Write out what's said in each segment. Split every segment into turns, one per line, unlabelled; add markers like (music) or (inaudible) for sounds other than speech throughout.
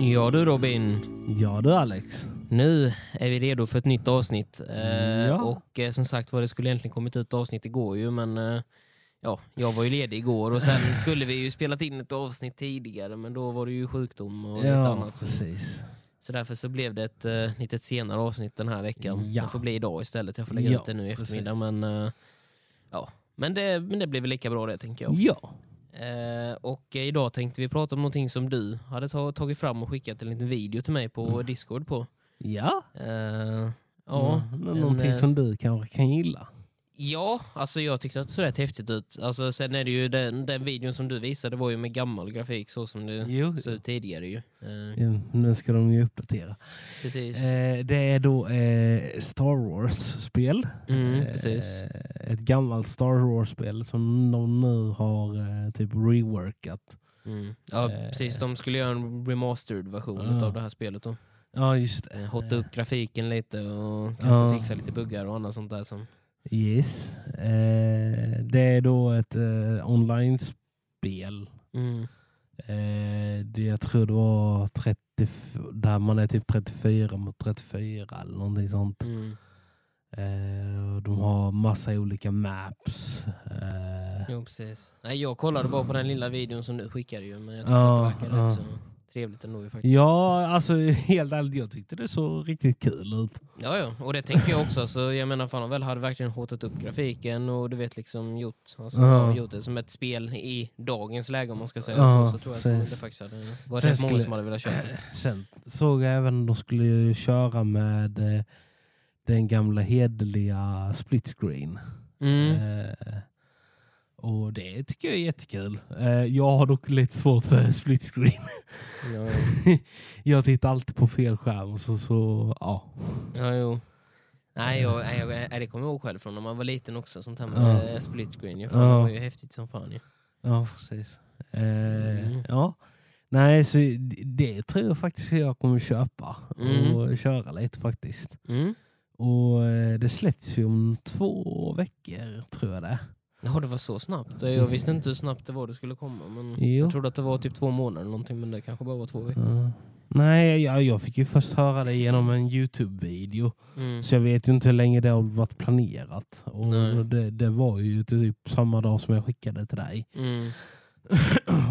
Ja du Robin,
Ja du Alex.
nu är vi redo för ett nytt avsnitt. Eh,
Ja.
Och eh, som sagt var, det skulle egentligen kommit ut avsnitt igår ju, men eh, ja, jag var ju ledig igår och
(laughs)
sen skulle vi ju spelat in ett avsnitt tidigare, men då var det ju sjukdom och lite annat. Så,
precis.
så därför så blev det ett eh, lite senare avsnitt den här veckan.
Ja.
Det får bli idag istället, jag får lägga
Ja,
ut det nu i eftermiddag.
precis.
Men, eh, ja. men, det, men det blir väl lika bra det tänker jag.
Ja.
Eh, och eh, idag tänkte vi prata om någonting som du hade ta- tagit fram och skickat en liten video till mig på
Mm.
Discord på.
Ja.
Eh, ja,
Mm,
en,
Någonting
eh,
som du kanske kan gilla.
ja, alltså jag tyckte att det såg rätt häftigt ut. Alltså, sen är det ju den, den videon som du visade var ju med gammal grafik så som det
Jo.
såg ut tidigare ju. Eh,
Ja, nu ska de ju uppdatera.
precis.
Eh, det är då eh, Star Wars-spel.
Mm,
Eh,
precis.
Ett gammalt Star Wars-spel som de nu har eh, typ reworkat.
Mm. Ja,
eh,
precis. De skulle göra en remastered version
Ja.
av det här spelet då.
Ja, just det.
Eh, Hotta upp grafiken lite och kanske
Ja.
fixa lite buggar och annat sånt där som...
Yes. Eh, det är då ett eh, online-spel.
Mm.
Eh, det, jag tror det var 30, där man är typ 34 mot 34 eller någonting sånt.
Mm.
Eh, och de har massa olika maps. Eh,
Jo, precis. Nej, jag kollade bara på den lilla videon som du skickade ju, men jag tyckte
Ja,
att det verkade
ja.
rätt så trevligt ändå ju faktiskt.
ja, alltså helt ärligt, jag tyckte det såg riktigt kul ut.
Ja, ja, och det tänker jag också. Alltså, jag menar, fan, de väl hade verkligen hotat upp grafiken och du vet liksom gjort, alltså,
Ja.
ja, gjort det som ett spel i dagens läge om man ska säga
Ja,
så. Så tror jag att det
precis.
faktiskt hade var
Sen
rätt många
skulle-
som hade velat köpa det.
Eh, Sen såg jag även att de skulle ju köra med eh, den gamla hederliga split screen.
Mm.
Eh, och det tycker jag är jättekul. Eh, jag har dock lite svårt för split screen.
Ja,
Jag tittar alltid på fel skärm. Så, så, ja.
ja, jo. Nej, jag, nej, jag, nej, det kommer jag ihåg själv från när man var liten också, sånt här
Ja.
med ja. split screen. ju. Fan,
Ja.
Det var ju häftigt som fan ju.
ja, precis. Eh,
Mm.
ja. Nej, så det- det tror jag faktiskt jag kommer köpa
Mm.
och köra lite faktiskt.
Mm.
Och eh, det släpps ju om två veckor tror jag det är.
Ja, det var så snabbt. Eh, Jag visste inte hur snabbt det var det skulle komma. Men
Jo.
Mm, Jag trodde att det var typ två månader eller någonting, men det kanske bara var två veckor.
Ja. Nej, jag, jag fick ju först höra det genom en Youtube-video.
Mm.
Så jag vet ju inte hur länge det har varit planerat.
Nej.
Och det, det var ju typ samma dag som jag skickade till dig.
Mm.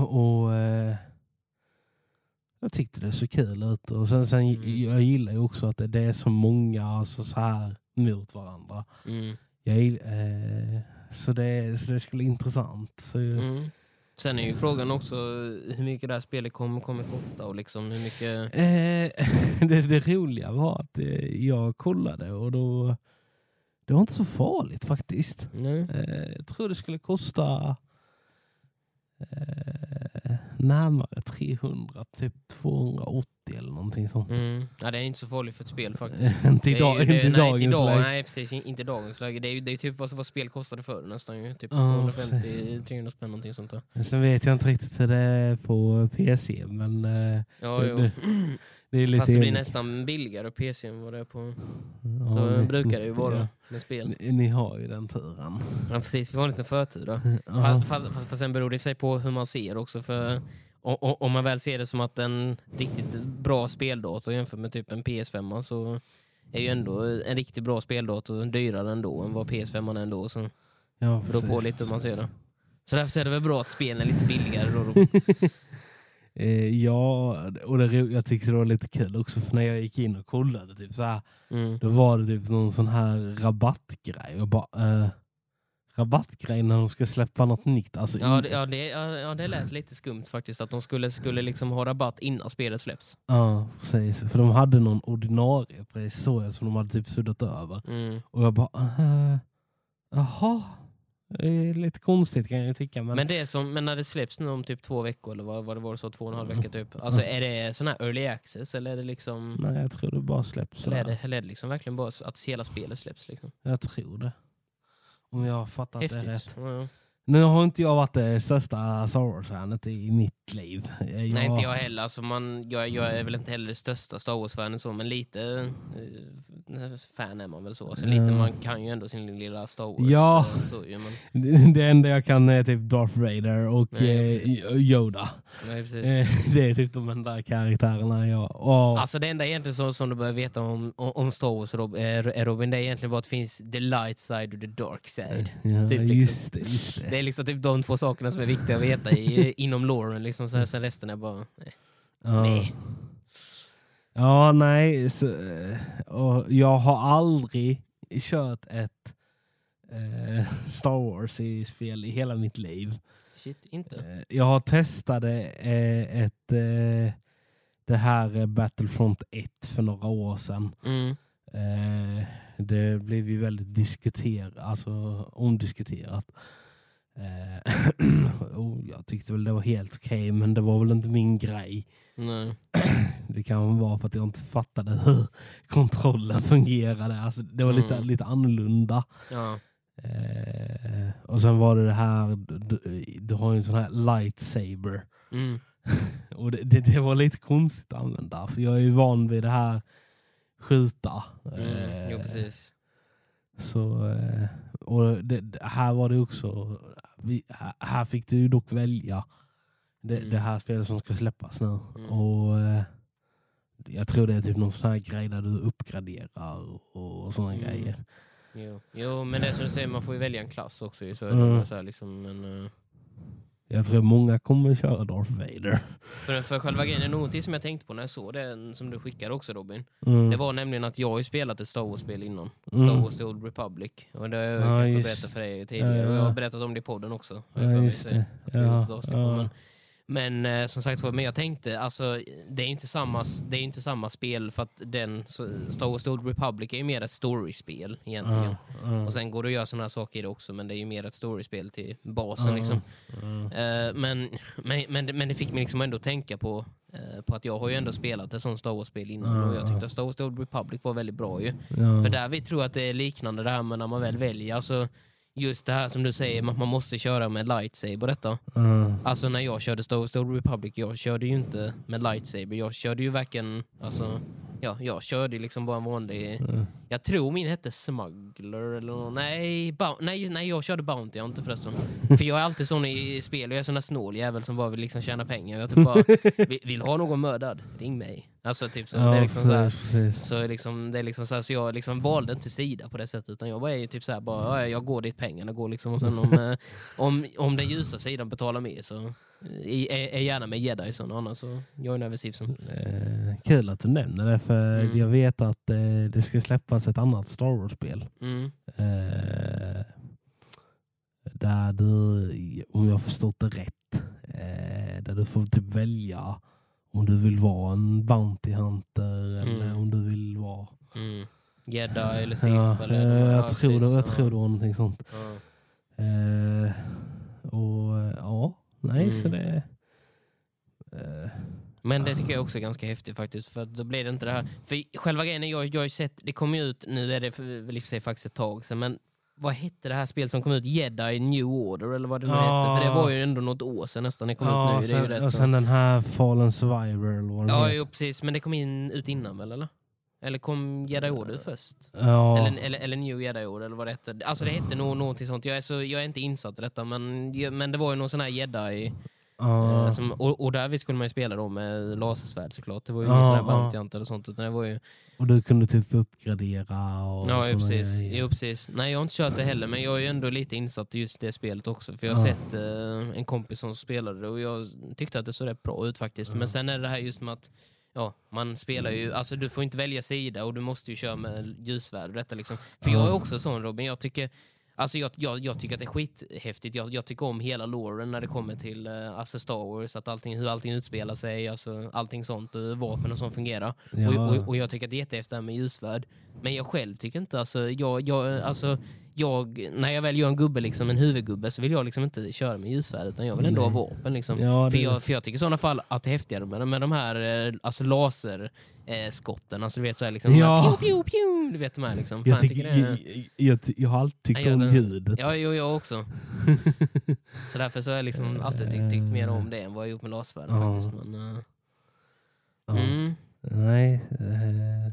Och eh, jag tyckte det såg kul ut. Och sen, sen
Mm.
jag gillar ju också att det, det är så många alltså, så här mot varandra.
Mm.
Jag, gill- eh, så, det, så det skulle vara intressant. Så,
Mm. Sen är ju frågan också hur mycket det här spelet kommer, kommer kosta och liksom hur mycket...
eh, (laughs) det, det roliga var att eh, jag kollade och då det var inte så farligt faktiskt.
Nej.
Eh, jag tror det skulle kosta eh, närmare 300, typ 280 eller någonting sånt.
Mm. Ja, det är inte så farligt för ett spel faktiskt.
(laughs) inte
Det är
idag,
ju det-
inte i
nej,
dagens
idag,
läge.
Nej, precis. in- Inte i dagens läge. Det är ju, det är ju typ vad, vad spel kostade förr nästan. Ju. Typ
Ja,
250-300 spänn någonting sånt där.
Men Sen vet jag inte riktigt hur det är på PC, men eh,
Ja,
Det-
jo.
det- det är lite...
Fast det blir
olika.
nästan billigare PC än vad det är på...
Ja,
Så
ni-
brukar det ju vara
ja.
med spel.
Ni, ni har ju den turen.
Ja, precis. Vi har en liten förtur då.
Ja.
Fast, fast, fast, fast sen beror det i sig på hur man ser också. För o- o- om man väl ser det som att en riktigt bra speldator jämfört med typ en PS5 så är ju ändå en riktigt bra speldator dyrare ändå än vad PS5 är ändå. Så det
Ja,
beror på
precis.
lite hur man ser det. Så därför är det väl bra att spelen är lite billigare då.
(laughs)
då.
Eh, ja, och det, ro- jag tyckte det var lite kul också, för när jag gick in och kollade, typ så här,
Mm.
Då var det typ någon sån här rabattgrej. Och bara, eh, rabattgrej när de ska släppa något nytt. Alltså,
Ja,
i-
det, ja, det, ja, ja, det lät lite skumt faktiskt att de skulle, skulle liksom ha rabatt innan spelet släpps.
ja, precis. För de hade någon ordinarie pris så jag som de hade typ suddat över.
Mm.
Och jag bara, eh, jaha. Det är lite konstigt kan jag ju tycka. Men,
Men, det är som, men när det släpps nu om typ två veckor, eller vad, vad det var så, två och en halv
Mm.
vecka typ. Alltså är det sån här early access eller är det liksom...
nej, jag tror det bara släpps
Eller är,
sådär.
det, eller är det liksom verkligen bara så att hela spelet släpps? Liksom?
Jag tror det. Om jag har fattat det
Häftigt.
rätt.
Ja, ja.
Nu har inte jag varit det största Star Wars-fanet i mitt liv. Eh, Jag-
Nej, inte jag heller. Alltså man, jag, jag är väl inte heller det största Star Wars-fanen så, men lite eh, fan är man väl så. Alltså, lite,
Ja.
man kan ju ändå sin lilla Star Wars.
Ja.
eh, Så, ju, men,
(laughs) Det enda jag kan är typ Darth Vader och
Nej,
eh, Yoda.
nej, precis.
Eh, (laughs) det är typ de enda karaktärerna jag... Och,
Alltså det enda egentligen som, som du behöver veta om, om- om Star Wars Rob, är, är Robin, det är egentligen bara att det finns the light side och the dark side.
ja,
typ liksom.
just det, just det.
Det är liksom typ de två sakerna som är viktiga att veta
(laughs)
i, inom Lauren. Liksom, så här, sen resten är bara... Nej.
Ja.
Nej.
Ja, nej. Så, eh, och jag har aldrig kört ett eh, Star Wars-spel i hela mitt liv.
Shit, inte.
Eh, Jag har testat eh, ett, eh, det här eh, Battlefront 1 för några år sedan.
Mm.
Eh, det blev ju väldigt diskuterat, alltså omdiskuterat. Eh, (clears throat) och jag tyckte väl det var helt okej, men det var väl inte min grej.
Nej.
Det kan vara för att jag inte fattade hur kontrollen fungerade. Alltså, det var lite,
Mm.
lite annorlunda.
Ja.
Eh, och sen var det det här, du, du har ju en sån här lightsaber.
Mm.
Och det, det, det var lite konstigt att använda, för jag är ju van vid det här skjuta.
Mm. Jo,
Eh,
precis.
så, eh, och det, det- här var det också, vi, här, här fick du ju dock välja det,
Mm.
det här spelet som ska släppas nu.
Mm.
Och eh, Jag tror det är typ någon sån här grej där du uppgraderar och, och såna
Mm.
grejer.
Jo. jo, men det är som du säger, man får ju välja en klass också. ju, Så är det,
Mm.
men så här, liksom, men, eh,
Jag tror många kommer köra Darth Vader.
för, för själva grejen, det är någonting som jag tänkte på när jag såg den som du skickade också Robin. (laughs)
Mm.
Det var nämligen att jag har ju spelat ett Star Wars-spel innan.
Mm.
Star Wars The Old Republic. Och det har jag ju
Ja,
kanske
just.
berättat för dig tidigare.
Ja, ja,
Och jag
ja.
har berättat om det i podden också. har jag för
ja,
mig.
just det.
Att vi har gjort
Ja,
ett avsnitt på,
ja.
Men, men eh, som sagt var, men jag tänkte, alltså, det är ju inte samma, det är ju inte samma spel för att den, så, Star Wars The Old Republic är ju mer ett story-spel egentligen.
Ja, ja.
Och sen går det att göra sådana här saker i det också, men det är ju mer ett storyspel till basen. Liksom.
Ja.
Eh, men, men, men, det- men det fick mig liksom ändå tänka på, eh, på att jag har ju ändå spelat ett sånt Star Wars-spel innan
Ja,
och jag
ja. Mm.
tyckte att Star Wars The Old Republic var väldigt bra ju.
Ja.
För där vi tror att det är liknande det här med när man väl väljer. Alltså, just det här som du säger med att man måste köra med lightsaber och detta.
Ja.
Alltså när jag körde Star Wars The Old Republic, jag körde ju inte med lightsaber. Jag körde ju varken, alltså, ja, jag körde ju liksom bara en vanlig
Ja.
jag tror min hette Smuggler eller nå- nej, Bou- nej, nej, jag körde Bounty jag inte förresten. För jag är alltid sån i i spel, jag är sån där snål jävel som bara vill liksom tjäna pengar. Jag typ bara, vill, vill ha någon mördad, ring mig. Alltså typ så. det är liksom så, här,
precis, precis.
så, är liksom, det är liksom så, här, så jag liksom valde inte sida på det sättet utan jag var ju typ så här, bara, "Ja, jag går dit pengarna går liksom. Och sen
(laughs)
om, eh, om, om den ljusa sidan betalar mer så eh, är, är gärna med jedi sån, annars så joinar vi Sivson.
Eh, kul att du nämner det, för
Mm.
jag vet att eh, det ska släppas ett annat Star Wars-spel.
Mm.
Eh, där du, om jag har förstått det rätt, eh, där du får typ välja om du vill vara en Bounty Hunter eller
Mm.
om du vill vara...
Mm. Jedi eller Sif
Ja,
eller... ja,
eh, jag, tror det,
precis,
jag
ja.
tror det var någonting sånt.
Ja.
Eh, och eh, ja, nej
Mm.
så det... Eh,
Men det tycker jag också är ganska häftigt faktiskt. För att då blir det inte det här. För själva grejen är, jag, jag har ju sett, det kom ju ut, nu är det för, väl i och för sig faktiskt ett tag sedan, men vad hette det här spelet som kom ut? Jedi New Order eller vad det nu
Ja.
hette? För det var ju ändå något år sedan nästan det kom ut nu.
sen,
det är ju
och
rätt,
sen
så.
den här Fallen Survivor eller vad den
Ja,
heter.
jo, precis. Men det kom in, ut innan väl eller? Eller kom Jedi Order först?
Ja.
Eller, eller, eller New Jedi Order eller vad det hette. Alltså det hette nog någonting sånt. Jag är, så, jag är inte insatt i detta men, men det var ju någon sån här jedi...
Ja.
Eh, Som, och, och där visst kunde man ju spela då med lasersvärd såklart. Det var ju
Ja,
ingen sån här
ja.
bounty hunt eller sånt. Utan det var ju...
Och du kunde typ uppgradera och
Ja,
såna
ju precis.
grejer.
Jo, precis. Nej, jag har inte kört det heller, men jag är ju ändå lite insatt i just det spelet också. För jag har
Ja.
sett eh, en kompis som spelade det och jag tyckte att det såg rätt bra ut faktiskt. Men sen är det här just med att ja, man spelar ju, alltså du får inte välja sida och du måste ju köra med ljussvärd och detta liksom. För jag är också sån Robin, jag tycker Alltså jag, jag, jag tycker att det är skithäftigt. Jag, jag tycker om hela loren när det kommer till eh, alltså Star Wars, att allting, hur allting utspelar sig, alltså allting sånt, och vapen och sånt fungerar.
Ja.
Och, och, och jag tycker att det är jättehäftigt det här med ljusvärd. Men jag själv tycker inte, alltså, jag, jag, alltså jag, när jag väl gör en gubbe, liksom, en huvudgubbe, så vill jag liksom inte köra med ljusvärd utan jag vill ändå ha vapen. Liksom.
Ja,
för,
det-
jag, för jag tycker i sådana fall att det är häftigare med, med de här eh, alltså laserskotten. Eh, skotten. alltså, du vet, så här, liksom, de här
Ja.
pju, pju, pju, du vet de här liksom. Fan,
Jag,
jag
tycker,
tycker det är...
jag, jag, ty- jag har alltid tyckt
Nej, jag-
om ljudet.
Ja, jo, jag
(laughs)
också. Så därför så har jag liksom alltid tyckt, tyckt mer om det än vad jag gjort med lasersvärden
Ja.
faktiskt. Men, eh,
Ja.
mm.
Nej, eh,
men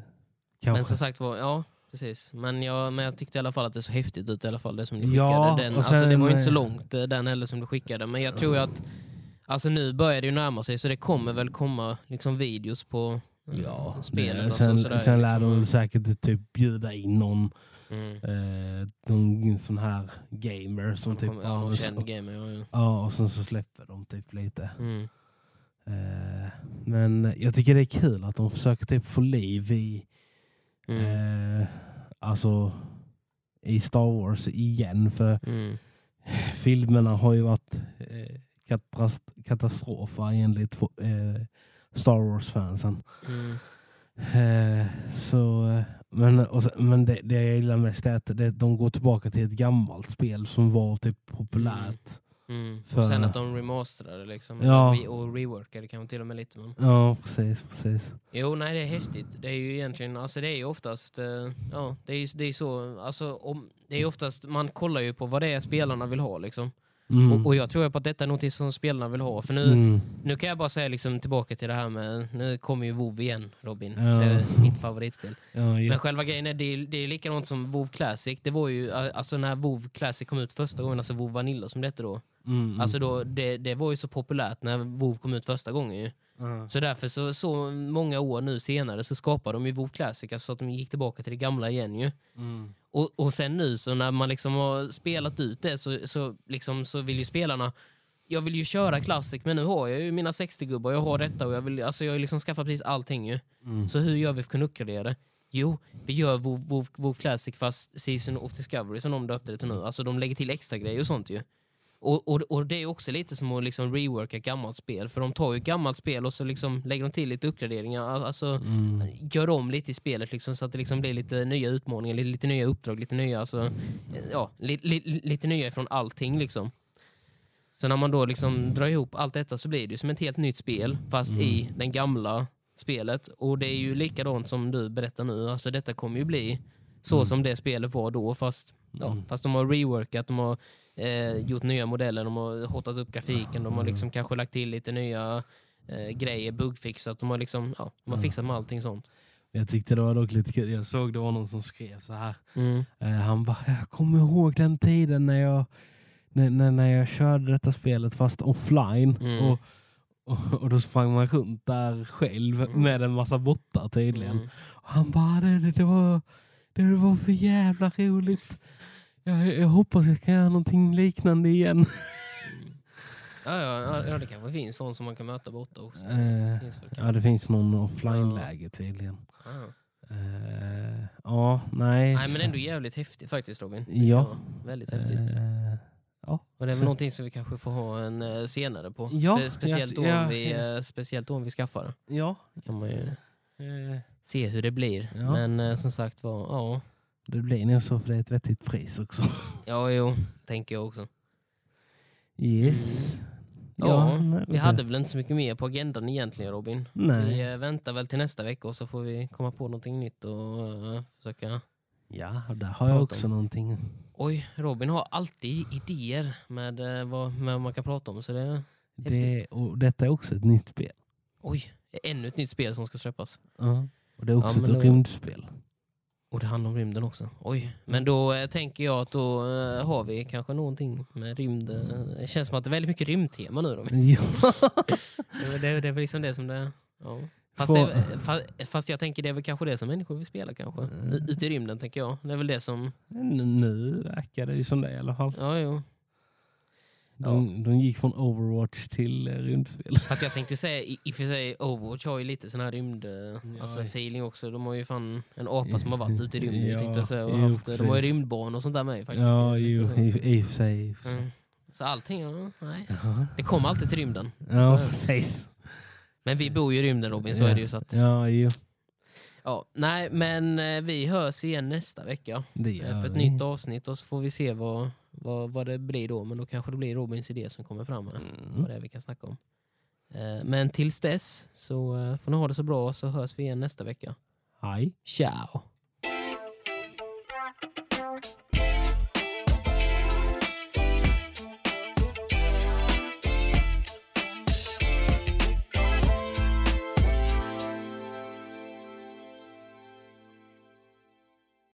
kanske.
som sagt var, ja precis. Men jag, men jag tyckte i alla fall att det såg häftigt ut i alla fall det som du skickade.
Ja,
den,
och
alltså, det
sen,
var ju inte så
eh,
långt eh, den heller som du skickade. Men jag tror ju att, alltså nu börjar det ju närma sig så det kommer väl komma liksom videos på eh,
ja,
spelet.
nej,
alltså,
sen
sådär,
sen lär
liksom.
de säkert typ bjuda in någon,
Mm.
eh, någon sån här gamer som typ...
Kommer- ja, någon
och så-
känd gamer. Ja, ja.
Ja, och sen så släpper de typ lite.
Mm.
Eh, men jag tycker det är kul att de försöker typ få liv i,
Mm.
eh, alltså, i Star Wars igen. För
Mm.
filmerna har ju varit eh, katras- katastrofer enligt fo- eh, Star Wars-fansen.
Mm.
Eh, så, eh, men och sen, men det, det jag gillar mest är att det, de går tillbaka till ett gammalt spel som var typ populärt.
Mm.
För-
Och sen att de remasterade liksom.
Ja.
Re- och reworkade kanske till och med lite. Men...
Ja, precis. precis.
Jo, nej det är häftigt. Det är ju egentligen, alltså det är ju oftast, eh, ja det är ju det är så, alltså om, det är ju oftast, man kollar ju på vad det är spelarna vill ha liksom.
Mm.
Och, och jag tror ju på att detta är någonting som spelarna vill ha. För nu,
Mm.
nu kan jag bara säga liksom tillbaka till det här med, nu kommer ju WoW igen Robin.
Ja.
Det är mitt favoritspel.
Ja, ja.
Men själva grejen är, det är, det är likadant som WoW Classic. Det var ju, eh, alltså när WoW Classic kom ut första gången, alltså WoW Vanilla som det hette då.
Mm, mm.
Alltså då, det, det var ju så populärt när WoW kom ut första gången ju.
Ja.
Så därför så, så många år nu senare så skapade de ju WoW Classic, alltså så att de gick tillbaka till det gamla igen ju.
Mm.
Och, och sen nu så när man liksom har spelat ut det så, så, liksom, så vill ju spelarna jag vill ju köra Classic men nu har jag ju mina 60-gubbar, jag har detta och jag vill, alltså jag har ju liksom skaffat precis allting ju.
Mm.
Så hur gör vi för att kunna uppgradera det? Jo, vi gör WoW, WoW, WoW Classic fast Season of Discovery som de döpte det till nu. Alltså de lägger till extra grejer och sånt ju. Och, och, och det är också lite som att liksom reworka gammalt spel. För de tar ju gammalt spel och så liksom lägger de till lite uppgraderingar. Al- Alltså
Mm.
gör om lite i spelet liksom, så att det liksom blir lite nya utmaningar, lite, lite nya uppdrag, lite nya, alltså, ja, li, li, lite nya från allting. Liksom. Så när man då liksom drar ihop allt detta så blir det ju som ett helt nytt spel fast
Mm.
i den gamla spelet. Och det är ju likadant som du berättar nu, alltså detta kommer ju bli så
Mm.
som det spelet var då fast, ja, fast de har reworkat, de har eh, gjort nya modeller, de har hotat upp grafiken,
Mm.
de har liksom kanske lagt till lite nya eh, grejer, bugfixat, de har liksom, ja, de
Mm.
har fixat med allting sånt.
Jag tyckte det var dock lite kul. Jag såg det var någon som skrev så här.
Mm.
Eh, han bara, jag kommer ihåg den tiden när jag, när, när, när jag körde detta spelet fast offline.
Mm.
Och, och, och då sprang man runt där själv med en massa bottar tydligen.
Mm.
Och han bara, det, det, det, var, det var för jävla roligt. Jag, jag hoppas jag kan göra någonting liknande igen.
Ja, ja, ja, ja, det kanske finns sån som man kan möta borta också.
Eh,
Finns väl
ja, det finns någon offline-läge tydligen.
kanske. Ja.
Eh, ja, nej.
Nej, men ändå jävligt häftigt faktiskt Robin. Det
Ja.
kan vara Väldigt häftigt.
Eh, ja.
Och det är väl
så-
någonting som vi kanske får ha en eh, senare på.
Ja,
Spe- speciellt,
jag-
då om
jag-
vi, eh, speciellt då om vi skaffar det.
ja.
kan man ju
Eh,
se hur det blir.
Ja.
Men eh, som sagt var, ja.
det blir nog så för det är ett vettigt pris också.
Ja, jo, tänker jag också.
Yes.
Mm. Ja,
nej,
Vi hade väl inte så mycket mer på agendan egentligen Robin.
Nej.
Vi eh, väntar väl till nästa vecka och så får vi komma på någonting nytt och eh, försöka
Ja, där har jag
Prata
också någonting.
Oj, Robin har alltid idéer med eh, vad, med vad man kan prata om. Så det,
Det, och detta är också ett nytt spel.
oj, ännu ett nytt spel som ska släppas.
Och det är också
Ja, men
ett
då-
rymdspel.
Och det handlar om rymden också. Oj, men då eh, tänker jag att då eh, har vi kanske någonting med rymd. eh, Det känns som att det är väldigt mycket rymdtema nu.
(laughs)
Robin.
Ja.
Det, är väl- det, är- det är väl liksom det som det är. Ja. Fast,
Får-
det, är- fa- eh, fast jag tänker det är väl kanske det som människor vill spela kanske. U- Ute i rymden tänker jag. Det är väl det som...
nu verkar det ju som det i alla fall.
Ja, jo.
De, de gick från Overwatch till eh, rymdspel.
Fast jag tänkte säga, i i och för sig, Overwatch har ju lite sån här rymd, eh, alltså
Ja.
feeling också. De har ju fan en apa som har varit ute i rymden
Ja,
tänkte jag säga. Och
jo,
haft, de har ju
precis.
rymdbarn och sånt där med faktiskt.
ja,
Det är
ju,
lite så.
i, i och för sig. i och för sig.
Mm. Så allting, ja, nej.
Ja,
Det kommer alltid till rymden.
ja
Så-
precis.
Men vi bor ju i rymden Robin, så
Ja.
är det ju. Så att,
Ja, ju.
ja. Nej, men eh, vi hörs igen nästa vecka.
Det
eh,
gör
För ett
vi.
nytt avsnitt och så får vi se vad, vad, vad det blir då. Men då kanske det blir Robins idé som kommer fram här. Vad
Mm.
det är vi kan snacka om. Eh, Men tills dess så eh, får ni ha det så bra så hörs vi igen nästa vecka.
Hej.
Ciao!